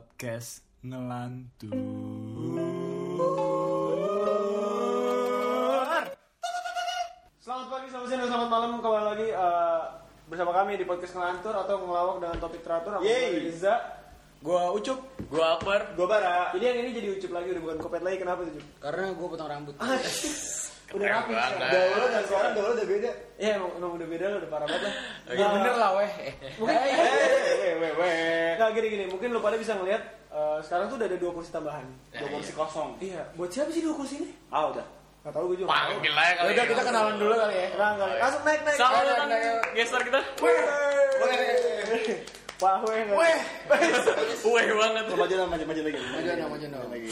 podcast ngelantur. Selamat pagi, selamat siang, dan selamat malam kembali lagi eh, bersama kami di podcast ngelantur atau ngelawak dengan topik teratur. Aku Yeay. Riza, Gua ucup Gua Akbar gue Bara. Jadi yang ini jadi ucup lagi udah bukan kopet lagi kenapa tuh? Ucup? karena gua potong rambut. iya. Udah rapi. banget. dan sekarang gaul udah beda. Iya emang, emang udah beda lo udah parah banget lah. Nah, Ya bener lah weh. Mungkin Eh, Weh, weh, weh. Nah gini gini, mungkin lo pada bisa ngeliat eh, sekarang tuh udah ada dua kursi tambahan. Dua kursi kosong Iya, buat siapa sih dua kursi ini? Ah udah Gak tau gue juga. Panggil aja gitu. kali Udah kita kenalan dulu kali ya. Nah, nggak- langsung naik naik. Selamat Naik, datang naik, naik. Geser kita Wah, weh. Weh. Weh banget maju lah, maju maju lagi. Maju dong, maju dong. lagi.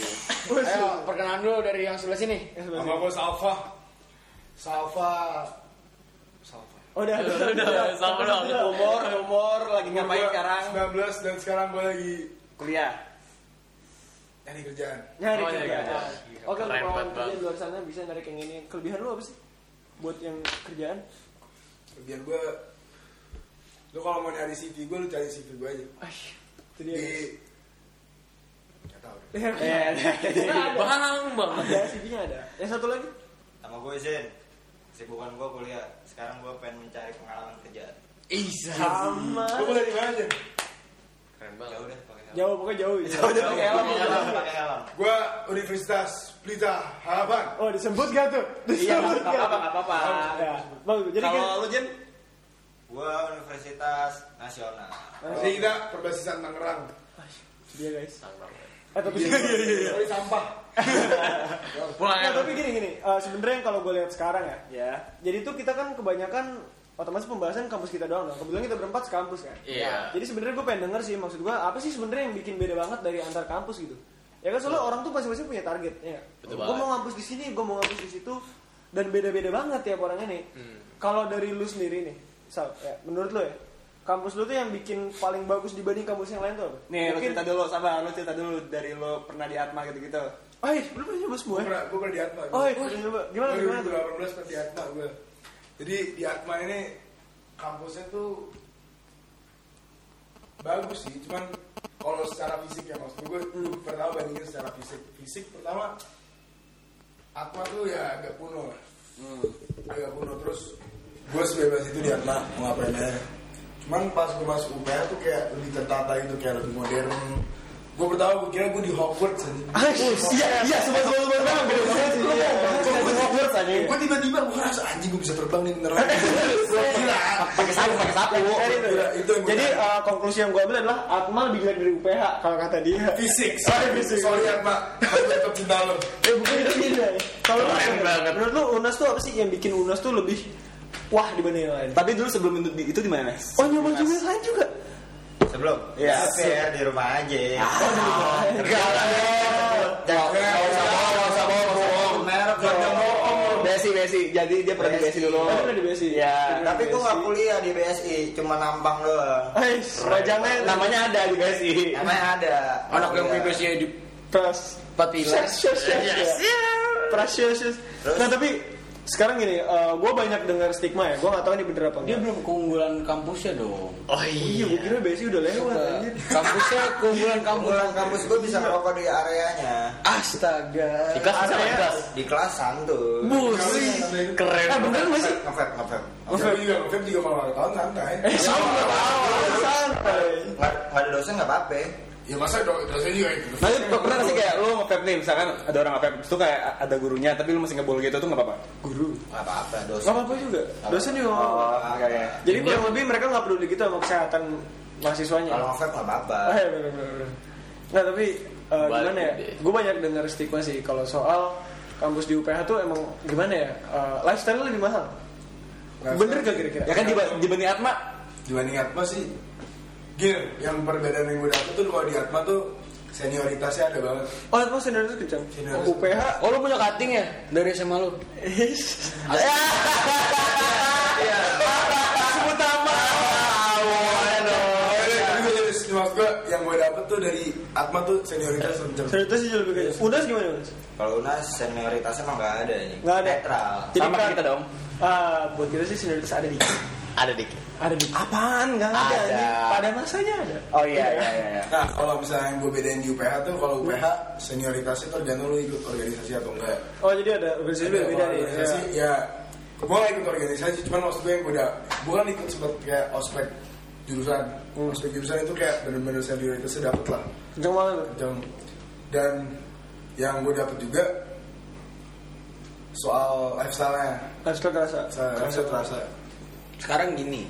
Ayo perkenalan dulu dari yang sebelah sini. Sama gua Salva Salva. Oh, Udah, udah, Udah, sama dong Umur, umur lagi ngapain Oh, sekarang? 19 dan sekarang gue lagi Kuliah. nyari kerjaan. nyari Oh, nyari kerjaan. kerjaan. Oke, untuk Keren orang banget, kerja Bang. di luar sana bisa narik yang ini. Kelebihan lu apa sih? Buat yang kerjaan? Biar gue lu kalau mau nyari CV gue lu cari CV gue aja. Ah, itu Iya. dia. Di Gak tau. ya. Ada, iya. Nah, Bang Iya, kan? banget ada CV-nya ada. Yang satu lagi? Nama gue Zen. Kesibukan gue kuliah. Sekarang gue pengen mencari pengalaman kerjaan. Sama. Lu boleh di mana aja? Keren Jauh deh pakai helm. Jauh, pokoknya jauh. ya. Pakai helm, pakai helm, pakai helm. Gue Universitas Pelita Harapan. Oh, disebut gak tuh? Disebut nggak gak? apa-apa, nggak apa-apa. Ya, bagus. Jadi kan Kalau lu Jin, Gue Universitas Nasional. Jadi kita perbasisan Tangerang. dia Iya, guys. Eh, tapi iya. Oh, Sorry sampah. Pulang ya Nah, tapi gini gini, Eh, sebenarnya yang kalau gue lihat sekarang ya, ya. Jadi tuh kita kan kebanyakan otomatis pembahasan kampus kita doang dong. Kebetulan kita berempat sekampus kan. Iya. Jadi sebenarnya gue pengen denger sih maksud gue apa sih sebenarnya yang bikin beda banget dari antar kampus gitu. Ya kan soalnya orang tuh masing-masing punya target ya. Betul Gue banget. mau ngampus di sini, gue mau ngampus di situ dan beda-beda banget tiap orangnya nih. Hmm. Kalau dari lu sendiri nih, Sal, ya, menurut lu ya, kampus lu tuh yang bikin paling bagus dibanding kampus yang lain tuh apa? nih lu Mungkin- cerita dulu, sabar, lu cerita dulu dari lu pernah di Atma gitu-gitu. Oh, iya, lu pernah nyoba semua? Gue ya? pernah, gue pernah di Atma. Oh, iya, pernah nyoba. Gimana Gua gimana? tuh? 2018 pernah di Atma gue. Jadi di Atma ini kampusnya tuh bagus sih, cuman kalau secara fisik ya maksud gue pertama bandingin secara fisik. Fisik pertama Atma tuh ya agak kuno lah. Hmm. Agak kuno terus gue sebebas itu di Atma mau ngapain aja. Cuman pas gue masuk UPH tuh kayak lebih tertata gitu, kayak lebih modern. Gue pertama gue kira gue di Hogwarts aja. Iya, iya, semua semua semua bang, beda banget sih. iya. Gue Hogwarts aja. gue tiba-tiba gue ngerasa anjing gue bisa terbang nih beneran Gua gila Pakai sapu, pakai sapu. Dari itu. Gila, itu yang gua Jadi tahu. eh, konklusi yang gue ambil adalah Atma lebih jelek dari UPH kalau kata dia. fisik Sorry, fisik. sorry ya pak aku tetap cinta lo Eh bukan itu dia. Kalau lu Keren banget. menurut lu UNAS tuh apa sih yang bikin UNAS tuh lebih wah dibanding yang lain? Tapi dulu sebelum itu, itu di mana? Nes? Oh nyoba juga lain juga. Sebelum? Iya. Biar di rumah aja. Enggak lah. Merek Besi, besi. Jadi dia pernah di Besi dulu. Oh, pernah di BSI. Iya. Tapi gue gak kuliah di BSI, cuma nampang doang. Ais, Rojangnya namanya ada di Besi. Namanya ada. Anak yang Kuliah. PPC di Pras. Empat Pilar Precious. Precious. Precious. Nah tapi sekarang gini, gue banyak dengar stigma ya. Gue nggak tahu ini bener apa Dia enggak. belum keunggulan kampusnya dong. Oh Iya, gue kira BSI udah lewat. anjir. Kampusnya keunggulan kampus. Pulang kampus gue bisa ngerokok di areanya. Astaga. Di kelas bisa Area. main kelas Di kelas santuy. Bus Keren Eh bener nggak sih? Ngevap, ngevap. Gue juga Feb juga kalau nggak ya. tahun santai Santai. Nggak nggak ada dosen nggak apa-apa. ya masa do dosen juga itu Tapi pernah nggak sih kayak lu nge-vape nih, misalkan ada orang nge-vape, terus tuh kayak ada gurunya, tapi lu masih ngebul gitu tuh nggak apa-apa? Nggak apa-apa dosen. Gak apa-apa juga. Dosen juga nggak apa-apa. Oh, oke. oke. Jadi kurang lebih mereka nggak peduli gitu sama kesehatan mahasiswanya. Kalau ngevap nggak apa-apa. Ah, ya, bener, bener, bener. Nggak tapi eh, Balik gimana ya? deh. Gue banyak dengar stigma sih kalau soal kampus di UPH tuh emang gimana ya? Eh, lifestyle lebih mahal. Bener gak kira-kira? Ya kan diba- dibanding Atma, dibanding Atma sih gini yang perbedaan yang gue dapet tuh kalau di Atma tuh senioritasnya ada banget Oh, itu senior itu kencang. Senioritas. UPH. Oh lu punya cutting ya dari SMA lu? Oh, iya, Tapi gue jadi- maksud gue yang gue dapet tuh dari Atma tuh senioritas macam Senioritas sih jauh lebih kencang. Unas gimana Unas? Kalau UNAS senioritas emang nggak ada ini. Nggak ada. Netral. Jadi sama kan- kita dong. Ah, buat kita sih senioritas ada dikit. Ada dikit. Ada di Apaan? Gak ada. Ada. anjing. Pada masanya ada. Oh iya iya iya. iya. Nah, kalau misalnya yang gue bedain di UPH tuh, kalau UPH senioritasnya tergantung lu ikut organisasi atau enggak. Oh jadi ada organisasi Jadi iya. beda kalau nih. organisasi, ya, gue gak ikut organisasi, cuman maksud gue yang beda. Gue kan ikut seperti kayak ospek jurusan. Hmm. Ospek jurusan itu kayak bener-bener senioritasnya dapet lah. Kenceng banget. Dan, dan yang gue dapet juga soal lifestyle-nya. Harus kerasa. Lifestyle terasa. Sekarang gini,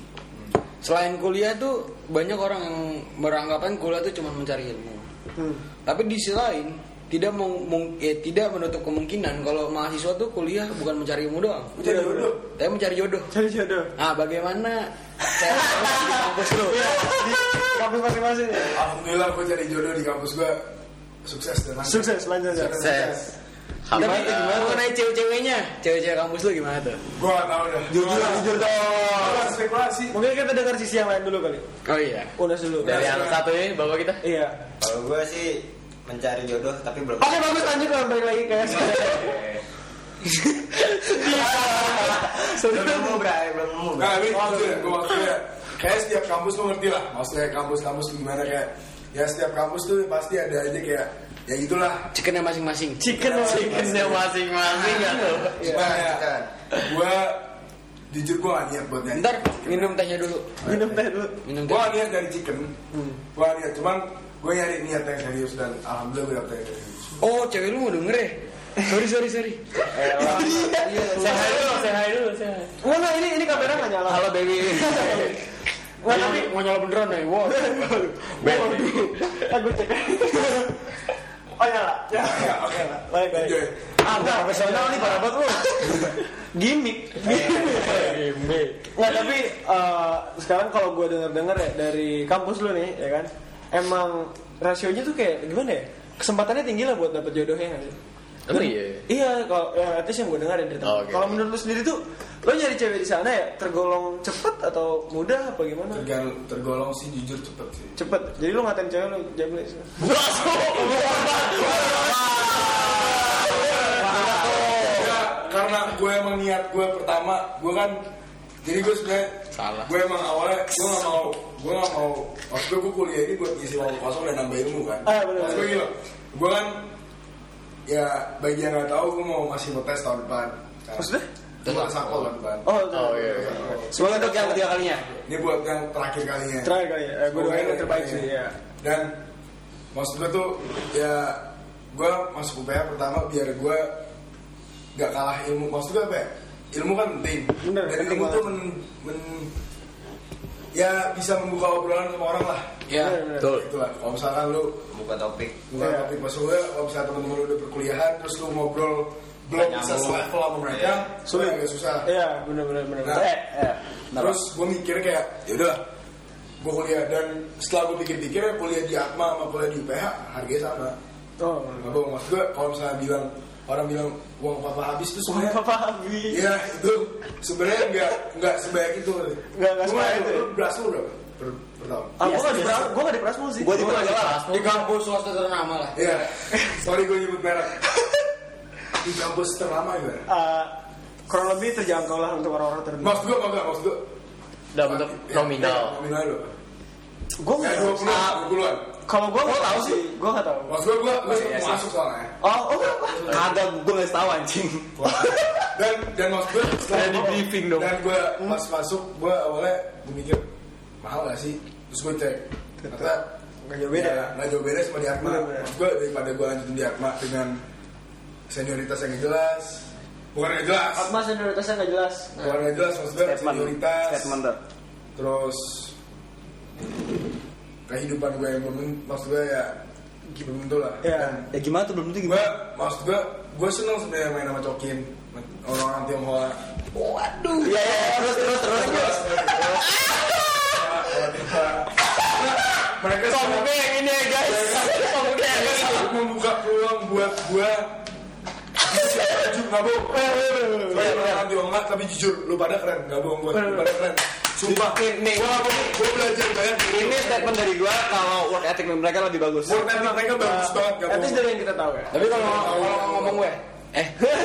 selain kuliah tuh banyak orang yang beranggapan kuliah tuh cuma mencari ilmu. Hmm. Tapi di sisi lain tidak meng- meng- eh, tidak menutup kemungkinan kalau mahasiswa tuh kuliah bukan mencari ilmu doang, Gue jadi dulu. tapi mencari jodoh. Cari jodoh. Nah, bagaimana saya di kampus lu? Iya. Kampus masing-masing ya. Alhamdulillah gue cari jodoh di kampus gue sukses dan lancar. Sukses lanjut ya. Sukses. Tapi Hamdan, mengenai cewek-ceweknya, cewek-cewek kampus lu gimana tuh? Gue gak tau dah. Jujur, jujur dong. Gue gak spekulasi. Mungkin kita dengar sisi yang lain dulu kali. Oh iya. Unas dulu. Dari yang satu ini bapak kita. Iya. Kalau gue sih mencari jodoh tapi belum. Oke bagus lanjut kalau balik lagi ke Belum nemu bray, belum nemu. Bray. Nah, ini maksudnya, gue maksudnya kayak setiap kampus tuh ngerti lah. Maksudnya kampus-kampus gimana kayak ya setiap kampus tuh pasti ada aja kayak ya gitulah. Chickennya masing-masing. chicken. Chickennya masing-masing kan tuh. Cuma ya, gue jujur gue gak niat buat nyanyi. Ntar minum tehnya dulu. Minum teh dulu. Minum Gue teh. gak niat dari chicken. Gue gak niat, cuman gue nyari niat yang serius dan alhamdulillah gue dapet yang serius. Oh, cewek lu mau denger ya? Sorry, sorry, sorry. Iya. Saya dulu, saya dulu, saya. Iya. Wah nah, ini ini kamera nggak nyala. Halo baby. Wah tapi Mau nyala beneran ya? nih, wow. aku cek. Oh nyala. Ya, Iya, Oke lah. Baik baik. Enjoy. Ah nggak profesional nih para bot lu. Gimik. Gimik. Nggak tapi eh, sekarang kalau gue denger dengar ya dari kampus lu nih ya kan. Emang rasionya tuh kayak gimana ya? Kesempatannya tinggi lah buat dapet jodohnya nggak sih? Oh iya. Iya, kalau ya, itu sih yang gue dengar ya dari temen. Oh, oke. Kalau menurut lu sendiri tuh, lo nyari cewek di sana ya tergolong cepet atau mudah apa gimana? Tergal- tergolong sih jujur cepet sih. Cepet. Jadi lo ngatain cewek lo jable. Ya, karena gue emang niat gue pertama gue kan jadi gue sebenarnya gue emang awalnya gue gak mau gue gak mau waktu gue kuliah ini buat ngisi waktu kosong dan nambah ilmu kan Ah, bener. Maksud gue gitu gue kan ya bagi yang gak tahu gue mau masih mau tes tahun depan kan. Maksudnya? gue gak sakol tahun depan Oh, oh iya, iya. Semoga untuk yang ketiga kalinya. ini buat yang terakhir kalinya Terakhir kali ya. Eh, gue doain yang terbaik sih. ya. Ya. Dan maksud gue tuh ya gue masuk UPH pertama biar gue gak kalah ilmu. Maksud gue apa ya? Ilmu kan penting. Bener, Dan penting ilmu tuh banget. men, men- ya bisa membuka obrolan sama orang lah. Ya. Bener, bener. Betul. Itulah. Kalau misalkan lu Buka topik. bukan Iya. topik maksud gue, kalau misalkan temen-temen lu udah perkuliahan terus lu ngobrol belum Nggak bisa nyambung. selevel sama mereka, sulit Iya. Sulit. agak susah. Iya, benar-benar benar. Nah, Eh, Terus gue mikir kayak, yaudah gue kuliah dan setelah gue pikir-pikir kuliah di Atma sama kuliah di UPH harganya sama. oh. Gak bohong maksud gue kalau misalnya bilang orang bilang uang papa habis itu Sumpah sebenarnya pahami. Iya itu sebenarnya nggak nggak sebanyak itu. Nggak- nggak Gua sebanyak itu. ya? Lu beras lu berapa per, per tahun? Ah, gue gak di Pras- gua nggak di Prasmul sih. Gue Gua jelas. Di kampus swasta ternama lah. Iya. Sorry gue nyebut merek. di kampus terlama gimana? Eh, kurang lebih terjangkau lah untuk orang-orang tertentu. Maksud gue enggak maksud gue. Dalam bentuk Ya, nominal. ya, Nominal lu. Gue Ya nggak Ah, dua puluh, dua puluhan. Kalau gue nggak tahu sih, gue nggak tahu. Maksud gue gue gue Iya, masuk soalnya. Oh, oh kenapa? Kagak, gue nggak tahu anjing. dan dan maksud gue setelah Kayak di gua- briefing dong. dan gue pas masuk gue awalnya gua mikir mahal gak sih terus gue cek ternyata Nggak jauh beda. ya, nggak jauh beda sama di Atma Bener-bener. maksud gue daripada gue lanjutin di Atma dengan senioritas yang nggak jelas bukan nggak jelas Atma Oh, senioritasnya nggak jelas. bukan nggak jelas maksud gue senioritas Statement tuh. terus kehidupan gue yang belum maksud gue ya belum tentu lah Ya. Dan Ya gimana tuh belum tentu gue maksud gue gue seneng sebenarnya main sama Cokin orang-orang Tionghoa Iya, iya, iya, terus, terus, terus, terus. mereka Oke, yang ini ya guys. sangat membuka peluang buat gua jujur nggak bohong Saya orang diomat tapi jujur lu pada keren nggak bohong gua lu pada keren sumpah Nih, nih. gua nggak bohong gua belajar banyak Ini statement dari gue kalau work ethic mereka lebih bagus. Work ethic mereka bagus banget nggak At least bohong dari yang kita tahu ya. Tapi kalau kalau ngomong gue, Eh, eh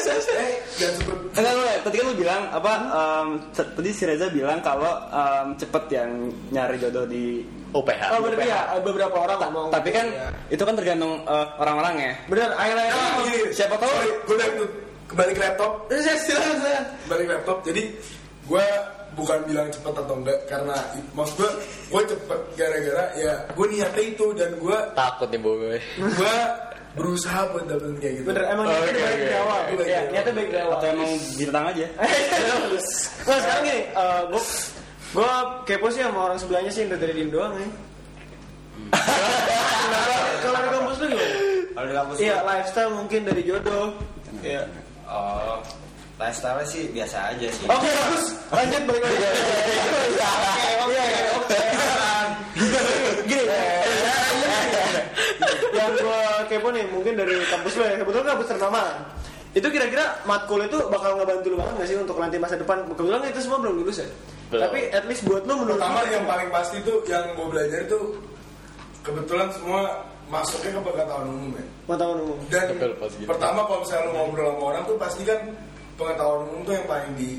jangan sebut Enggak, enggak, tadi kan lu bilang apa em, se- tadi si Reza bilang kalau em, cepet yang nyari jodoh di OPH. Oh bener ya, beberapa orang ngomong. tapi kan itu kan tergantung eh, orang-orangnya. bener, akhir-akhir Iya, Ah, ini gini, Siapa tahu sorry, gue udah tuh, kembali ke laptop kembali ke laptop jadi gue bukan bilang cepet atau enggak karena i- maksud gue gue cepet gara-gara ya gue niatnya itu dan gue Takut nih gue. gue berusaha buat dapetin kayak gitu bener emang niatnya baik dari awal. oke, Iya, oke. niatnya baik dari awal. atau emang bintang aja. Nah sekarang gini, eh, gue gue kepo sih sama orang sebelahnya sih dari Din doang nih. Kenapa? Kalau di kampus lu gimana? Kalau di kampus Iya, lifestyle mungkin dari jodoh. Iya. Oh, lifestyle sih biasa aja sih. Oke, bagus. Lanjut balik lagi. Iya, iya, oke. Gini. Yang gue kepo nih mungkin dari kampus lo ya. Kebetulan kampus ternama. Itu kira-kira matkul itu bakal ngebantu lu banget gak sih untuk nanti masa depan? Kebetulan itu semua belum lulus ya. Belum. Tapi at least buat lu menurut pertama lu- yang paling pasti tuh yang gue belajar tuh kebetulan semua masuknya ke pengetahuan umum ya pengetahuan umum. dan Betul, pas gitu. pertama kalau misalnya lo ngobrol sama orang tuh pasti kan pengetahuan umum tuh yang paling di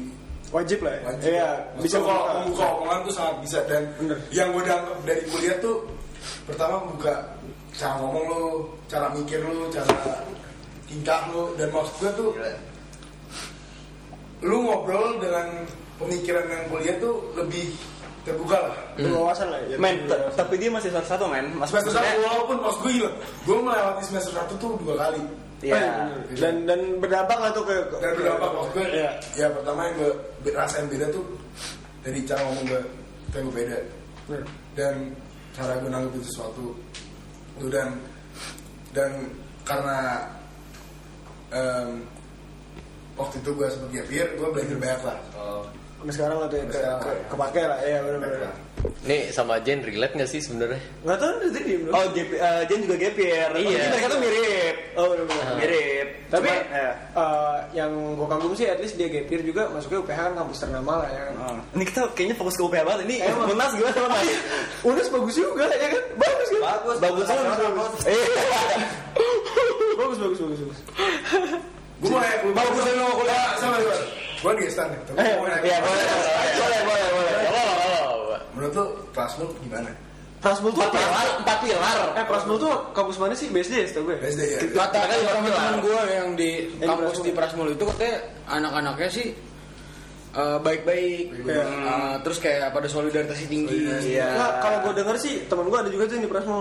Wajib lah ya. wajib. Iya, Maksudnya bisa kalau buka. Iya. membuka omongan tuh sangat bisa dan Bener. yang gue dapet dari kuliah tuh pertama buka cara ngomong lo, cara mikir lo, cara tingkah lo dan maksud gue tuh Gila. lu ngobrol dengan pemikiran yang kuliah tuh lebih terbuka lah. Hmm. Berwawasan lah ya. Men, t- tapi dia masih semester satu men. Mas Semester satu maksudnya- walaupun maksud gue gila, gue melewati semester satu tuh dua kali. Iya. Dan dan berdampak lah tuh ke Dan berapa maksud gue? Iya. Ya pertama yang gue rasain beda tuh dari cara ngomong gue, itu yang gue beda. Bener. dan cara gue nanggepin sesuatu itu dan dan karena em, waktu itu gue sempet gap year gue belajar banyak lah Sampai sekarang lah tuh ya, Sampai ke, sekarang. ke- kepake lah ya benar-benar. Nih sama Jen relate gak sih sebenarnya? Enggak tahu dari tadi diem dulu. Oh, Gap- eh, Jen juga gap year. Oh, Iya. jadi mereka tuh mirip. Oh, benar-benar. Mirip. Tapi Cuman, ya. eh, yang gue kagum sih at least dia gap year juga masuknya UPH kan kampus ternama lah ya kan. Oh. Ini kita kayaknya fokus ke UPH banget. Ini Emang. Munas gimana Munas? Unas bagus juga ya kan? Bagus kan? Bagus. Bagus banget. Eh, Bagus bagus bagus bagus. gue mau naik mau gue selalu mau kuliah sama sama gue di Estan tapi gue mau naik Iya, boleh, boleh, boleh, boleh, boleh. Gak apa-apa, gak apa-apa. menurut lo kelas lo gimana Prasmul tuh Empat pilar, empat pilar. ya? Eh Prasmul tuh kampus mana sih? BSD ya setahu gue. SD ya kata teman-teman gue yang di Yang di kampus Prasmul. di Prasmul itu katanya anak-anaknya sih eh, baik-baik, Baik-baik. Eh, terus kayak pada solidaritasnya tinggi. Iya. Nah, kalau gue denger sih, temen gue ada juga tuh yang di Prasmo.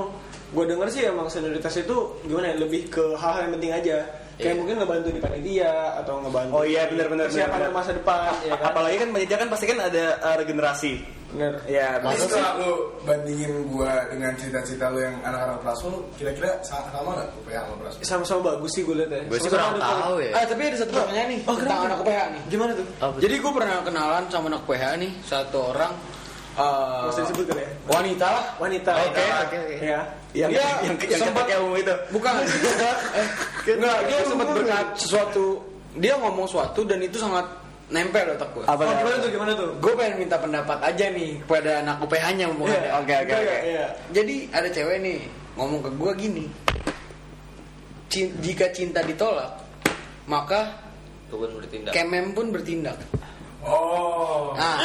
Gue denger sih emang senioritas itu gimana ya, lebih ke hal-hal yang penting aja. Kayak Iya. mungkin ngebantu di panitia atau ngebantu. Oh iya, benar-benar. Persiapan benar-benar. masa depan, ya kan? Apalagi kan panitia kan pasti kan ada eh, regenerasi. Bener. Iya, Tapi benar. setelah lo bandingin gue dengan cita-cita lo yang anak-anak kelas lo kira-kira sangat sama nggak UPH sama kelas lo Sama-sama bagus sih gue liat ya. Gue sih Sama-sama kurang ada- tahu ya. Ah, tapi ada satu pertanyaan nih tentang anak PH nih. Gimana tuh? Apa tuh? Jadi gue pernah kenalan sama anak PH nih, satu orang eh, Masih disebut kali ya? wanita lah. Wanita. Oke, oke, oke. Ya. Yang Iya, yang yang sempat- kayak umum itu. Bukan. Eh, Enggak, dia sempat iya. berkata sesuatu. Dia ngomong sesuatu dan itu sangat nempel di otak gue. Apa? Oh, gimana tuh? Gimana tuh? Gue pengen minta pendapat aja nih kepada anak UPH-nya mumpung Iya, ada. Oke, oke, Iya, oke. Iya. Jadi ada cewek nih ngomong ke gue gini. "Cin- jika cinta ditolak, maka Tuh kan bertindak. Kemem pun bertindak. oh Nah,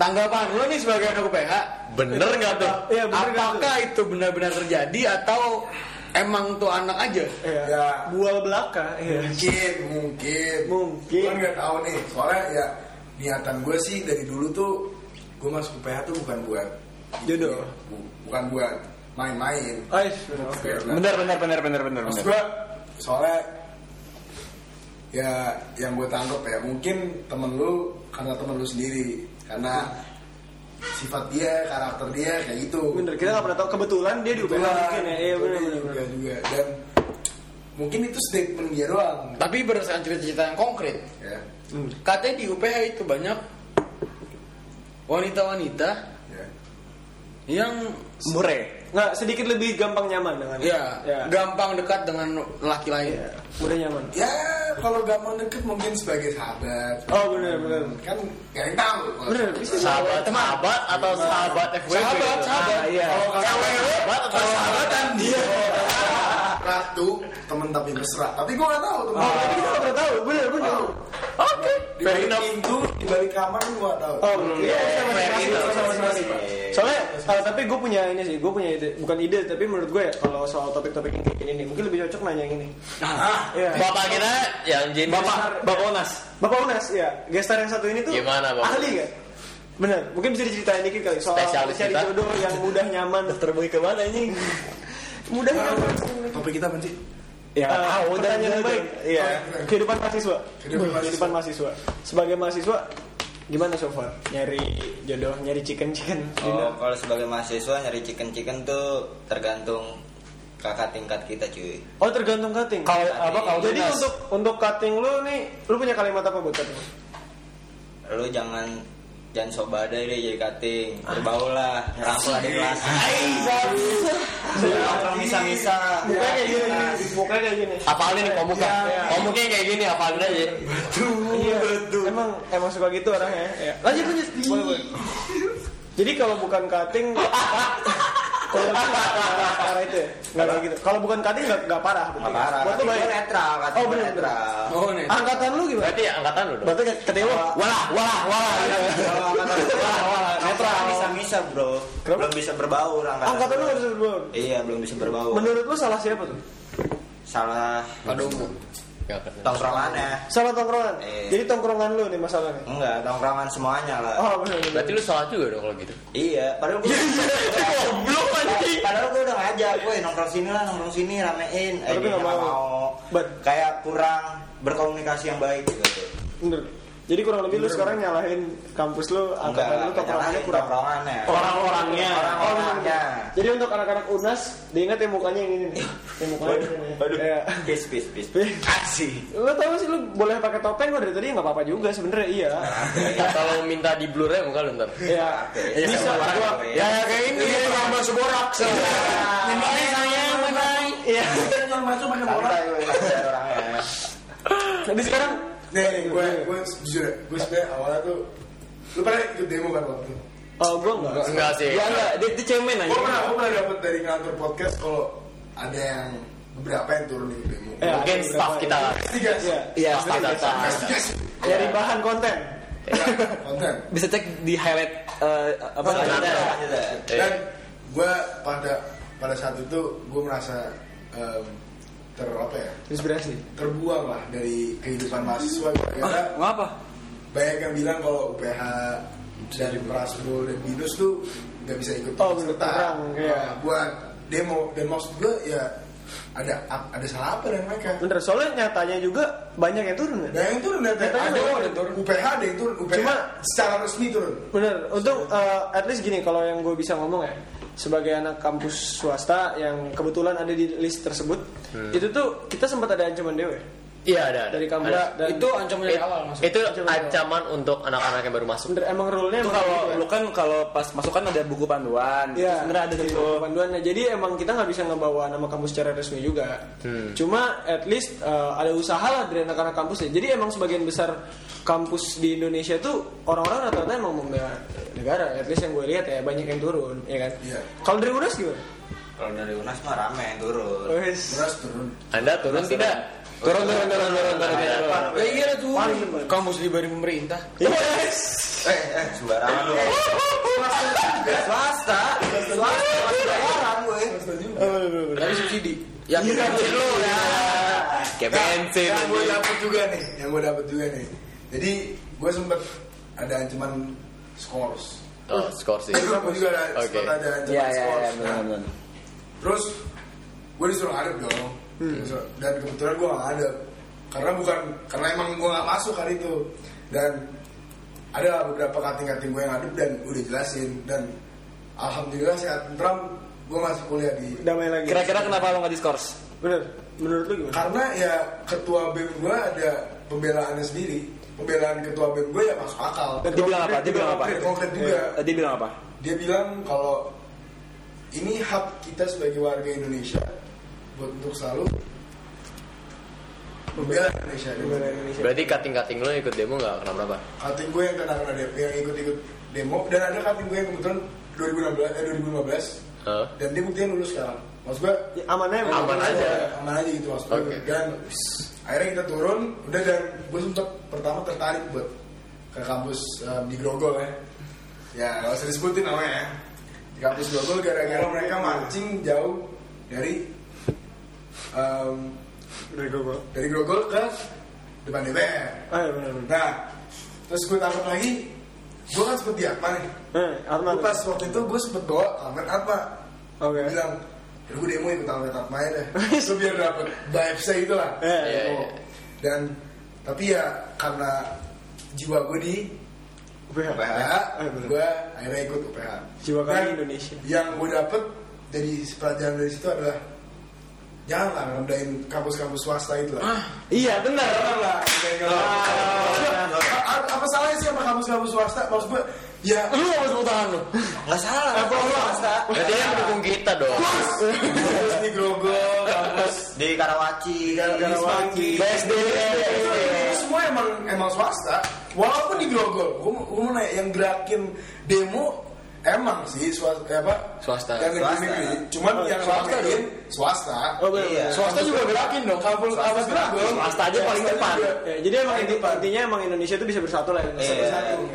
tanggapan lo nih sebagai anak UPH, Bener gak tuh? Iya, bener nggak apakah itu benar-benar terjadi atau emang tuh anak aja? Iya. Ya. Bual belaka. Iya. mungkin mungkin Mungkin. gue nggak tahu nih soalnya ya niatan gue sih dari dulu tuh gue masuk UPH tuh bukan buat ya, Jodoh. Bu- bukan buat main-main Ais, bener. Oke. Benar, benar, benar, benar, benar, Maksud benar. gue soalnya ya yang gue tangkap ya mungkin temen lu karena temen lu sendiri karena sifat dia karakter dia kayak gitu Bener, kita gak pernah tahu kebetulan dia di UPH Kebetulan. mungkin ya. Iya, bener, Kebetulan bener, bener. juga, juga. dan mungkin itu statement dia doang Tapi berdasarkan cerita-cerita yang konkret, ya katanya di UPH itu banyak wanita-wanita ya yang Mure. Nggak, sedikit lebih gampang nyaman dengan ya, gampang dekat dengan laki lain. Ya, mudah nyaman. Ya, kalau gampang deket mungkin sebagai sahabat. Oh benar benar. Kan gak yang tahu. Benar, bisnis. Sahabat, sahabat atau sahabat FWB? Sahabat, sahabat. Ah, iya. Kalau kan? Sahabat atau sahabatan? Nah, satu Iya. temen tapi mesra tapi gue gak tahu temen Tapi kita nggak pernah tahu, bener bener. Oke. di balik pintu di balik kamar gue gak tahu Oh, iya, sama fair sama- enough. sama- sama- sama. Soalnya, eh, tapi gue punya ini sih, gue punya ide, bukan ide, tapi menurut gue ya kalau soal topik-topik yang kayak gini nih, mungkin lebih cocok nanya yang ini. Iya. Bapak kita yang jadi Bapak, Bapak Onas, Bapak Onas, ya. Gestar yang satu ini tuh Gimana, Bapak ahli nggak? Bener, mungkin bisa diceritain dikit kali soal Spesialis cari kita. jodoh yang mudah nyaman. Terbuka kemana ini? mudah nyaman. topik kita benci Ya, pertanyaan yang baik. Iya. Oh, Kehidupan mahasiswa. Kehidupan Kehidupan, mahasiswa. Sebagai mahasiswa gimana so far? Nyari jodoh, nyari chicken chicken Oh, kalau sebagai mahasiswa nyari chicken-chicken tuh tergantung kakak tingkat kita cuy. Oh, tergantung cutting. Kalau apa, kalau Jadi dinas. untuk untuk cutting lu nih, lu punya kalimat apa buat cutting? Lu jangan jangan sok badai deh jadi cutting. Berbau lah, rangkul adik kelas. Rangkul misa-misa. Mukanya kayak gini, mukanya kayak gini. Apalin nih pemuka. Pemukanya kayak gini apalin aja. Iya, emang emang suka gitu orangnya. Ya. Lanjut lanjut. Boleh, boleh. Jadi kalau bukan cutting kalau parah, parah itu ya? Nggak kayak gitu. Kalau bukan cutting nggak nggak parah. berarti. Parah. Buat lu Gua baik. netral, Oh, oh, bener. netral. Oh, nih. Angkatan lu gimana? Berarti ya angkatan lu dong. Berarti ketewa. Walah, walah, walah. Kalau angkatan gua, netral misa-misa, Bro. Kenapa? Belum bisa berbaur angkatan. Angkatan lu gua. harus berbaur. Iya, belum bisa berbaur. Menurut lu salah siapa tuh? Salah Pada umum. Nggak keren. tongkrongannya. Salah tongkrongan. Iya. Jadi tongkrongan lu nih masalahnya. Enggak, tongkrongan semuanya lah. Oh benar. benar. Berarti lu sholat juga dong kalau gitu. Iya, padahal gue Goblok anjing. padahal gue udah ngajak, gue nongkrong sini lah, nongkrong sini, ramein. Eh, Tapi dia nggak nggak mau. mau. But- Kayak kurang berkomunikasi yang baik gitu. Bener. Jadi kurang lebih lu sekarang nyalahin kampus lu, angkatan lu Enggak, tongkrongannya nyalahin kurang. tongkrongannya. Orang-orangnya. Orang-orangnya. Jadi untuk anak-anak UNAS, diingat ya mukanya yang ini nih. Yang mukanya ini. Waduh, Iya. peace, peace, peace. Lu tau gak sih lu boleh pakai topeng kok dari tadi nggak apa-apa juga sebenarnya iya. Kata lu minta di blur ya muka lu ntar. Iya. Nah, Iya, Bisa sama gua. orang. Ya ya, kayak ini. Ini tambah seborak. Ini saya menang. Iya. yang masuk pakai bola Santai, gue ngajar orangnya. Jadi sekarang Iya, nih gue gue jujur ya gue sebenernya awalnya tuh lu pernah ikut demo kan waktu itu? oh gua enggak. Enggak sih. Ya enggak, dia, dia cemen aja. gue pernah gue pernah dapet dari kantor podcast kalau ada yang beberapa yang turun di demo Ya, Mungkin ada Eh, staff beberapa kita. ini. tiga Iya. Iya, Staff Iya. kita. Yes. Dari bahan konten. Ya, konten Bisa cek di highlight eh, apa Lanjut, lanjut, lanjut. Eh. dan gue pada pada saat itu gue merasa em, ter apa ya Inspirasi. terbuang lah dari kehidupan mahasiswa karena Ngapa? banyak yang bilang kalau UPH dari Prasmul dan Binus tuh nggak bisa ikut Oh, bener, ikut kurang, iya. Nah, buat demo dan maksud gue ya ada ada salah apa dengan mereka Bener, soalnya nyatanya juga banyak yang turun ya. Nah yang turun ada Nyatanya ada memang orang ada turun. UPH ada yang turun UPH Cuma- secara resmi turun. Bener, untung eh, at least gini kalau yang gue bisa ngomong ya sebagai anak kampus swasta yang kebetulan ada di list tersebut Hmm. itu tuh kita sempat ada ancaman dewe Iya ada ada. dari kampus Ada. dan Itu ancaman dari It- awal masuk. Itu ancaman untuk anak-anak yang baru masuk. bener, emang gitu ya. rule nya Itu kalau lu kan kalau pas masuk kan ada buku panduan. Iya. Itu Sebenarnya ada di gitu. panduannya jadi emang kita nggak bisa ngebawa nama kampus secara resmi juga Hmm. cuma at least eh, ada usaha lah dari anak-anak kampus ya jadi emang sebagian besar kampus di Indonesia tuh orang-orang rata-rata emang membela negara at least yang gue lihat ya banyak yang turun ya kan Iya. kalau dari UNAS gimana? Kalau dari UNAS mah rame yang turun. Wes. Beras turun. Anda turun tidak? Turun turun turun turun turun. Ya iya lah tuh. Paling depan. Kampus dibayarin pemerintah. Yes. Eh, eh, sembarangan lu. Swasta, swasta, swasta, orang gue. Tapi subsidi. Ya kita dulu ya. Kayak bensin. Yang gue dapet juga nih, yang gue dapet juga nih. Jadi gue sempet ada ancaman skors. Oh, skor sih. Gue juga ada, Oke. sempet ada ancaman Iya, iya, skors. iya, Nah, benar, benar. terus gue disuruh ngadep dong. Disuruh- Dan kebetulan gue gak ngadep. Karena bukan, karena emang gue gak masuk hari itu. Dan ada beberapa kating-kating gue yang ngadep dan udah jelasin. Dan alhamdulillah sehat tentram gue masih kuliah di damai lagi. Kira-kira kenapa lu nggak diskors? bener. Menurut lu gimana? karena ya ketua BEM gue ada pembelaannya sendiri pembelaan ketua BEM gue ya masuk akal Dia bilang apa? Dia bilang apa? konkret konkret juga Eh, Dia bilang apa? dia bilang kalau ini hak kita sebagai warga Indonesia buat untuk selalu membela Indonesia Damai Indonesia. Berarti kating-kating lo ikut demo nggak kenapa-napa? kating gue yang kena kena demo yang ikut-ikut demo dan ada kating gue yang kebetulan 2016 eh 2015 Heeh. dan dia buktinya lulus sekarang Maksud gue Ya, aman aja. aman aja. aja, aman aja gitu maksud gue. Dan akhirnya kita turun, udah dan gue sempet pertama tertarik buat ke kampus em, di Grogol ya. Ya gak usah disebutin namanya ya. Di kampus Grogol gara-gara mereka mancing jauh dari em, Dari gue gue. dari Grogol ke depan DPR. Ah ya benar benar. Nah, terus gue tangkap lagi, gue kan seperti apa nih? Eh, Arman. Gue pas waktu itu gue sempet bawa Ahmed Atma Oke. Gue bilang, "Yaudah, gue demo ikut Ahmed Atma aja deh Itu biar dapet vibes-nya gitu lah Iya, iya, Demo. iya. Dan, tapi ya karena jiwa gue di UPH. UPH Eh, benar. Gue akhirnya ikut UPH Jiwa kami Dan Indonesia. Yang gue dapet dari pelajaran dari situ adalah Janganlah ngerendahin kampus-kampus swasta itu lah Iya benar. Janganlah ngerendahin Ah. kampus- A- a- Apa salahnya sih sama kampus-kampus swasta? Maksud gue, ya Lu nggak mau tepuk tangan lu? Nggak salah. Apa Berarti yang mendukung kita dong. kampus di Grogol, kampus Di Karawaci. di Karawaci. BSD. Itu semua emang emang swasta. Walaupun di Grogol, gue mau nanya yang gerakin demo emang sih swasta eh, apa? Swasta. Yang negeri Swasta. negeri. Cuman yang swasta swasta. Iya. Oh benar. Swasta juga gerakin dong. Kampus kampus Grogol. Swasta aja paling depan. Ya, jadi emang Paling inti- depan. intinya emang Indonesia itu bisa bersatu lah. ya. Eh,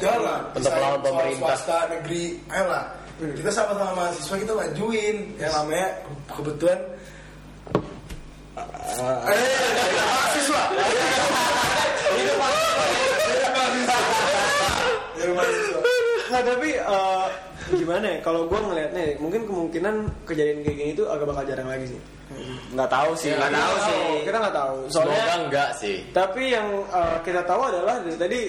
Jalan. Untuk melawan pemerintah. Swasta negeri, ayolah. Kita sama-sama mahasiswa kita majuin yang namanya ke- kebetulan Nah tapi eh, gimana ya? Kalau gue ngelihatnya, ya, mungkin kemungkinan kejadian kayak gini tuh agak bakal jarang lagi sih. nggak tahu sih Nggak Kita tahu nggak sih. Kita nggak tahu. Soalnya, Semoga enggak sih. tapi yang eh, kita tahu adalah dari tadi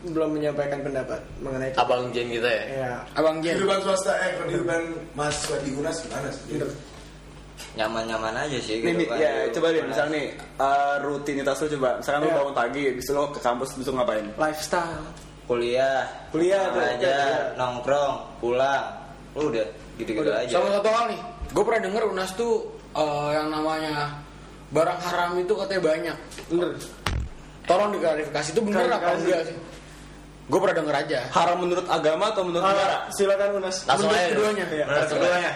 belum menyampaikan pendapat mengenai Abang Jen kita ya. ya Abang Jen. kehidupan swasta eh kehidupan mahasiswa di UNAS gimana Iya. sih? Nyaman-nyaman aja sih. Nih, gitu Mi, kan. ya coba deh Mana- misalnya nih eh, rutinitas lu coba misalkan lu Iya. bangun pagi habis itu lu ke kampus habis itu ngapain lifestyle. Kuliah. Kuliah, tuh. Belajar, nongkrong, pulang. Lu udah gitu-gitu aja. Sama satu hal nih, gue pernah denger Unas tuh eh, yang namanya barang haram itu katanya banyak. Bener. Tolong diklarifikasi itu bener apa Klarifikasi. enggak sih? Gue pernah denger aja. haram menurut agama atau menurut negara Ah, silakan Unas. Langsung aja. keduanya. Ya, Nah, Iya. Langsung aja.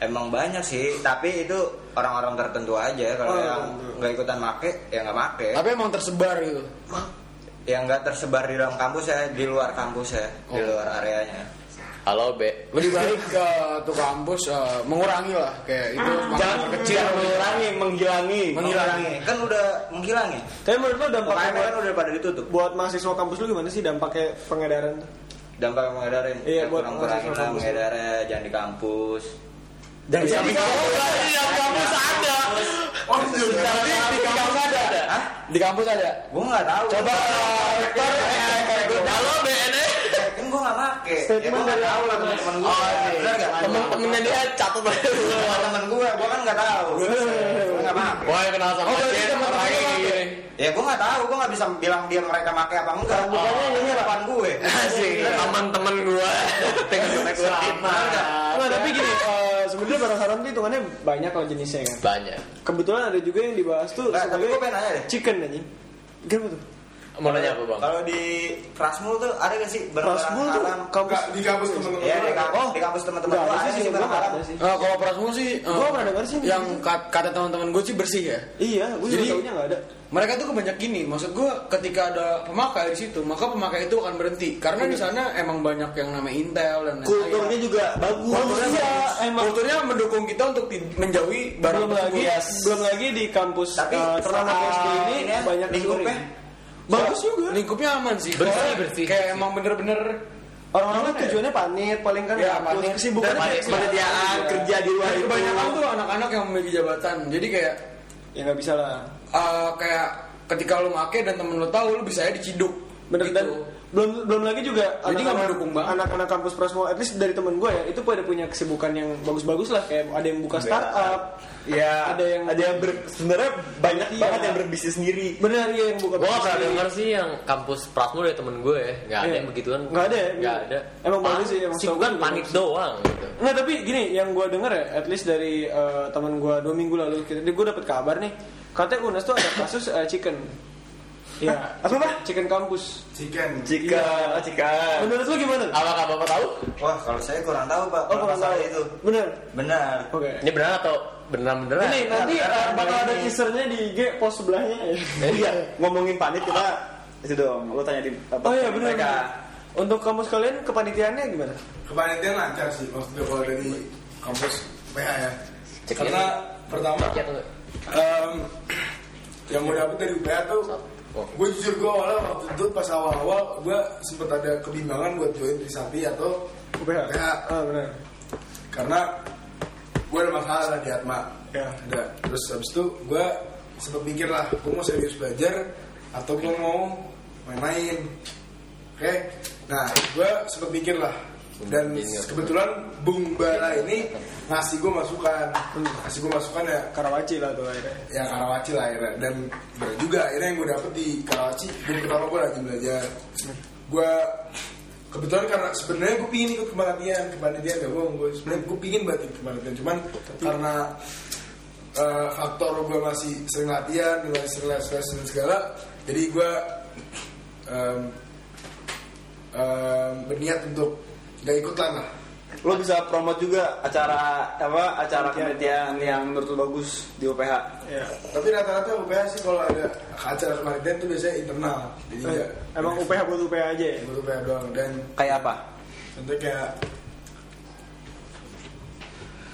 Emang banyak sih, tapi itu orang-orang tertentu aja. Kalau Oh, yang iya. nggak ikutan make, ya nggak make. Tapi emang tersebar gitu. Yang nggak tersebar di dalam kampus ya, di luar kampus ya, di luar areanya. Halo, Be. Lebih baik ke tuh kampus eh, mengurangi lah Ah. kayak itu jangan makin kecil menghilangi menghilangi menghilangi. Kan udah menghilangi. Tapi menurut lo dampaknya Makanya buat, kan udah pada ditutup. buat mahasiswa kampus lu gimana sih dampaknya pengedaran? tuh? Dampak mengedarin. Iya, buat kurang-kurangin mahasiswa lah kampus. mengedarnya, jangan di kampus. Jadi Oh, sudah. di kampus ada. Di kampus ada. Gua nggak tahu. Coba. Halo, BNE. Kan gua nggak make. Ya, Statement gua nggak dari tahu lah teman-teman gua. Bener nggak? Temen-temennya dia catat aja. Teman-teman gua, gua kan nggak tahu. Gua nggak make. Wah, kenal sama Jen. orangnya kayak gini. Ya gue nggak tahu, gue nggak bisa bilang dia mereka pakai apa enggak. Bukannya ini harapan gue. Asik. Teman-teman gua. Tinggal kita kutip. Nah, tapi gini, eh, sebenarnya barang haram itu hitungannya banyak kalau jenisnya kan. Banyak. Kebetulan ada juga yang dibahas tuh Nggak, tapi sebagai gua pengen nanya deh. chicken anjing. Kenapa tuh? Mau nanya apa, Bang? Kalau di Prasmul tuh ada gak sih barang Rasmul tuh haram? kampus. Di kampus teman-teman. Ya di, kamp- Oh. di kampus teman-teman Enggak gue ada ada sih, sih gua barang nggak haram. ada sih. Eh, kalau prasmu sih eh, Gua pernah denger sih. yang kat- kata teman-teman gue sih bersih ya. Iya, gue juga Jadi- taunya nggak ada. Mereka tuh kebanyak gini, maksud gue ketika ada pemakai di situ, maka pemakai itu akan berhenti karena di sana emang banyak yang namanya intel dan lain-lain. kulturnya juga bagus iya, Kulturnya, kulturnya mendukung kita untuk ti- menjauhi barang Belum lagi, tersebut. belum lagi di kampus Tapi eh, ternak setelah SD ini ini ya, banyak lingkupnya. dicuri. Bagus juga. Lingkupnya aman sih. Bersih, Soalnya bersih, Kayak bersih. emang bener-bener Orang-orang kan tujuannya panit, paling kan Iya, kampus, panit. kesibukannya Dan kayak- penyediaan Iya. kerja di luar itu kebanyakan tuh anak-anak yang memiliki jabatan. Jadi kayak Ya nggak bisa lah. eh, kayak ketika lu make dan temen lu tahu lu bisa aja diciduk. Bener Gitu. dan belum belum lagi juga Jadi nggak anak-anak- mendukung banget. anak-anak kampus Prasmo at least dari temen gue ya itu pada punya kesibukan yang bagus-bagus lah kayak ada yang buka startup ya Ada ada yang yang- ada yang ber- sebenarnya banyak Iya. banget yang berbisnis sendiri benar ya yang buka Gue gak pernah bisnis. denger sih yang kampus Prasmo dari temen gue ya Gak ada Iya. yang begituan Nggak ada ya? Gak ada Emang bagus sih, emang Sih setahu kan gue juga panik bagus. doang gitu Nggak tapi gini yang gue denger ya at least dari eh, temen gue dua minggu lalu kita gue dapet kabar nih katanya Unas tuh ada kasus eh, chicken Iya. Apa mah? Chicken kampus. Chicken. Jika, jika. Menurut lu gimana? Apakah bapak tahu? Wah, kalau saya kurang tahu, Pak. Oh, kurang masalah tahu. itu. Bener. Benar. Oke. Ini benar atau benar Nah, beneran? Ini nanti uh, bakal ada teasernya di IG post sebelahnya. ya. Eh, Iya. Ngomongin panit kita itu dong. Lo tanya di apa? Oh iya mereka. benar. Untuk kampus kalian kepanitiaannya gimana? Kepanitiaan lancar sih maksudnya kalau dari kampus PH ya. Cek Karena pertama Ya, tuh. em, yang gue dapet dari UPH tuh gue jujur gue awalnya waktu itu pas awal-awal gue sempet ada kebimbangan buat join Trisakti atau UPH. UPH. Ah benar. karena gue ada masalah lah di Atma Ya. ada terus habis itu gue sempet mikir lah gue mau serius belajar atau gue mau main-main oke nah gue sempet mikir lah dan kebetulan Bung Bara ini ngasih gue masukan ngasih gue masukan ya Karawaci lah tuh akhirnya. ya Karawaci lah akhirnya dan bener juga akhirnya yang gue dapet di Karawaci gue pertama gue lagi belajar gue kebetulan karena sebenarnya gue pingin ikut kepanitiaan kepanitiaan gak bohong gue sebenarnya gue pingin banget ikut kepanitiaan cuman karena eh, faktor gue masih sering latihan masih sering les les dan segala jadi gue em, em, berniat untuk gak ikutan lah Lo bisa promote juga acara apa acara kepanitiaan yang menurut lo bagus di UPH. Iya. tapi rata-rata UPH sih kalau ada acara kepanitiaan tuh biasanya internal Iya. jadi ya, nggak- Eh, Emang UPH buat UPH aja ya? Menurut UPH doang dan Kayak apa? contohnya kayak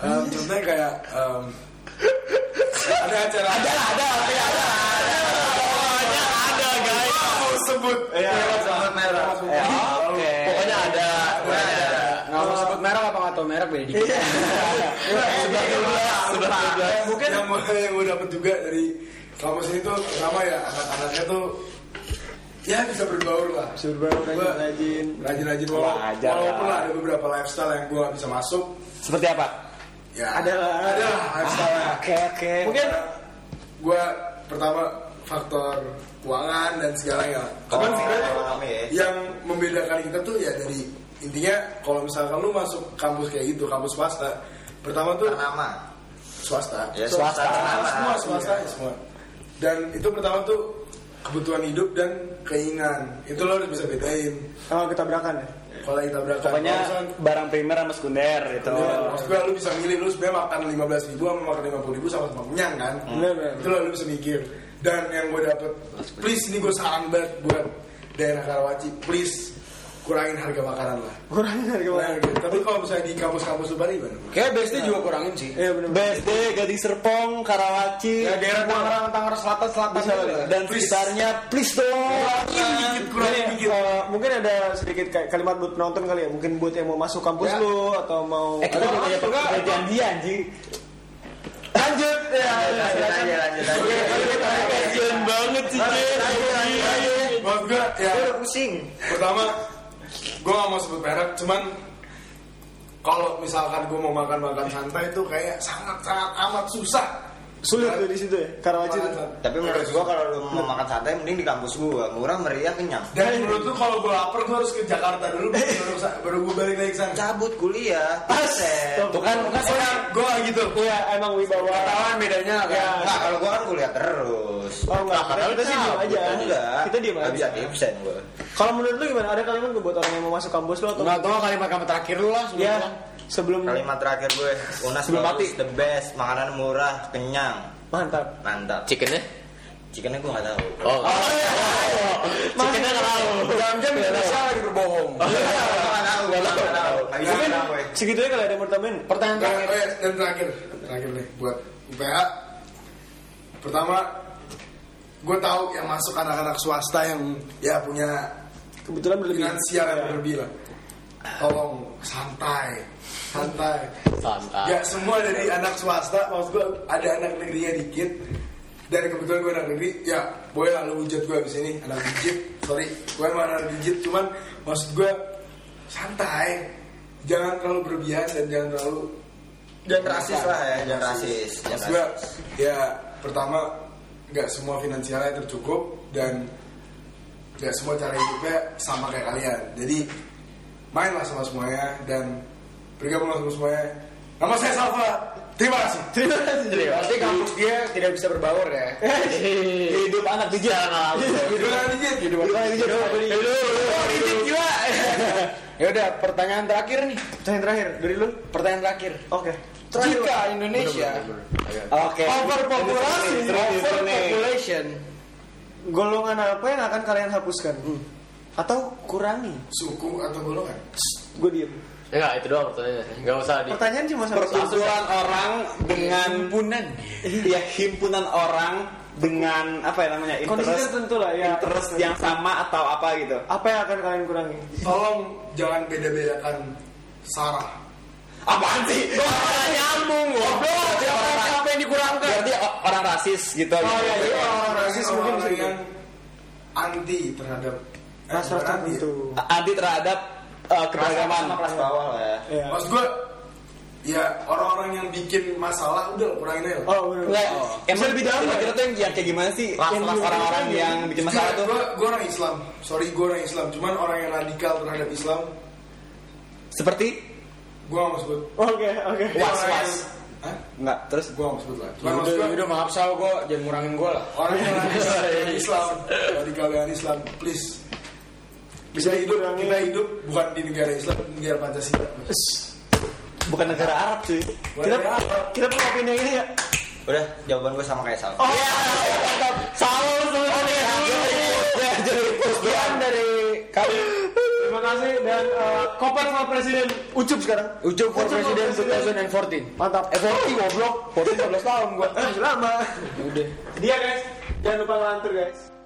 um, contohnya kayak um, ada acara ada ada ada ada ada sebut ya merah Ya, oke. Pokoknya ada. Nggak mau sebut merek apa nggak tahu merek beda dikit. Iya. mungkin Eh, yang mau yang mau dapat juga dari kampus ini tuh pertama ya anak-anaknya tuh ya bisa berbaur lah Surabaya Gua- rajin. rajin-rajin Wajar walaupun lah. walaupun lah ada beberapa lifestyle yang gua nggak bisa masuk Seperti apa? ya Ada lah. Ah. ada lah lifestyle lah. Oke, oke. Mungkin gue pertama faktor keuangan dan segalanya. Kalau Cuman sebenarnya rame ya. yang membedakan kita tuh ya dari intinya kalau misalkan lu masuk kampus kayak gitu kampus swasta pertama tuh Ternama. swasta Ya, swasta ternama. semua swasta ya, semua dan itu pertama tuh kebutuhan hidup dan keinginan itu lo harus bisa bedain kalau kita berakan ya. kalau lagi tabrakan Pokoknya Kalau misalkan- barang primer sama sekunder gitu. itu. Ya, maksud gue lu bisa milih lu sebenarnya makan 15 ribu sama makan 50 ribu sama sama kenyang kan Bener, bener. itu lah lu bisa mikir dan yang gue dapet please ini gue saran banget buat daerah Karawaci please kurangin harga makanan lah Kurangin harga Kurangin barang. harga. tapi kalau misalnya di kampus-kampus lu balik gimana? Kayak BSD juga kurangin sih. Iya benar. BSD, Gading Serpong, Karawaci, Ya daerah Tangerang, Tangerang Selatan, Selatan gitu lah. dan sekitarnya please dong. kurangin dikit kurangin Ini, dikit eh, mungkin ada sedikit ka- kalimat buat penonton kali ya mungkin buat yang mau masuk kampus Ya. lu atau mau Eh kita udah punya pekerjaan dia anjing. lanjut ya, ya, Lanjut silakan. aja, lanjut aja. Kasian banget sih. maksud gue ya Gue udah pusing. pertama gue gak mau sebut merek cuman kalau misalkan gue mau makan-makan santai itu kayak sangat-sangat amat susah sulit tuh di situ ya Karawaci tuh. Tapi menurut gua kalau lu mau makan santai mending di kampus gua. Murah, meriah, kenyang. Dan menurut lu kalau gue lapar gue harus ke Jakarta dulu baru baru gue balik lagi ke sana. Cabut kuliah. Aset. Tuh kan Gue gak gitu. Iya emang wibawa Kawan ya bedanya kan. Nah, kalau gua kan kuliah terus. Oh enggak, Nah, kita sih diem aja. Enggak. Kita diem Nggak aja. bisa absen gua. Kalau menurut lu gimana? Ada kalimat nggak buat orang yang mau masuk kampus lu atau Nggak tahu kalimat kamu terakhir lu lah sebelum ya pulang. sebelum Kalimat terakhir gue, Unas Sebelum mati. bagus, the best, makanan murah, kenyang, mantap. mantap. Chickennya? Chickennya gue nggak tahu. Oh. Chickennya nggak tahu. Jam-jam Indonesia lagi berbohong. Gue nggak tahu, gue nggak tahu. Nggak bisa Mungkin bilang ya? gue. segitunya kalau ya, ada yang mau tambahin. Pertanyaan Nah, terakhir. oh ya, dan terakhir, terakhir nih buat UPH. Pertama, gue tahu yang masuk anak-anak swasta yang ya punya Kebetulan berlebih. Ya. finansial ya, yang berlebih lah. Tolong santai, santai. Santai. Ya semua dari anak swasta, maksud gue ada anak negerinya dikit. Dan kebetulan gue anak negeri, ya boleh lah lu hujat gue abis ini, anak digit, sorry, gue emang anak digit, cuman maksud gue santai, jangan terlalu berlebihan dan jangan terlalu Jangan rasis lah ya, jangan rasis. Jangan maksud gue, rasis. ya pertama nggak semua finansialnya tercukup dan nggak semua cara hidupnya sama kayak kalian, jadi mainlah sama semuanya dan bergabunglah sama semuanya. Nama saya Salva. Terima kasih. Terima kasih. Terima Pasti kampus dia tidak bisa berbaur ya. Hidup anak bijak. Hidup anak bijak. Hidup anak bijak. Iya. Hidup. Ya udah, pertanyaan terakhir nih. Pertanyaan terakhir dari lu. Pertanyaan terakhir. Oke. Jika Indonesia Oke. Overpopulasi. overpopulation Golongan apa yang akan kalian hapuskan? Atau kurangi? Suku atau golongan? Gue diem. Ya Enggak, itu doang pertanyaannya. Enggak usah di. Pertanyaan cuma satu. Perkumpulan orang dengan himpunan ya himpunan orang dengan apa ya namanya Kondisinya interest tentu lah ya. interest yang sama atau apa gitu. Apa yang akan kalian kurangi? Tolong jangan beda-bedakan sarah. Apaan sih? nyambung goblok. apa yang dikurangkan Berarti o- orang rasis gitu. Oh iya, jadi orang-orang Orang rasis mungkin bisa yang anti terhadap eh, ras bukan anti Ah, ya. itu. Anti terhadap uh, keberagaman. kelas bawah lah ya. Iya. Maksud gue ya orang-orang yang bikin masalah udah kurangin aja. lah. Oh, bener. Enggak, emang lebih dalam Kira-kira tuh yang, yang kayak gimana sih? Ras- Yang ya? ras orang-orang orang yang bikin masalah tuh Gue gue orang Islam. Sorry gue orang Islam. Cuman orang yang radikal terhadap Islam seperti gue gak mau sebut. Oke, oke. was-was. Iya, Hah? Enggak, terus Gue gak mau sebut lah. Cuman maksud udah gue udah maaf sal gue jangan ngurangin gue lah orang yang radikal dengan Islam, radikal dengan Islam, please. Bisa hidup, dikurangi. kita hidup bukan di negara Islam, di negara Pancasila. Bukan negara Arab cuy. Kita Negara Arab. kita punya opini yang ini ya. Udah, jawaban gue sama kayak Sal. Oh, iya. Salam semuanya. Ya, jadi sekian dari kami. Terima kasih dan eh, koper sama presiden Ucup sekarang. Ucup for Ucup for President President. 2014 Mantap. eh 40 goblok 40 15 tahun gue Eh, lama. udah Dia guys, jangan lupa ngelantur guys.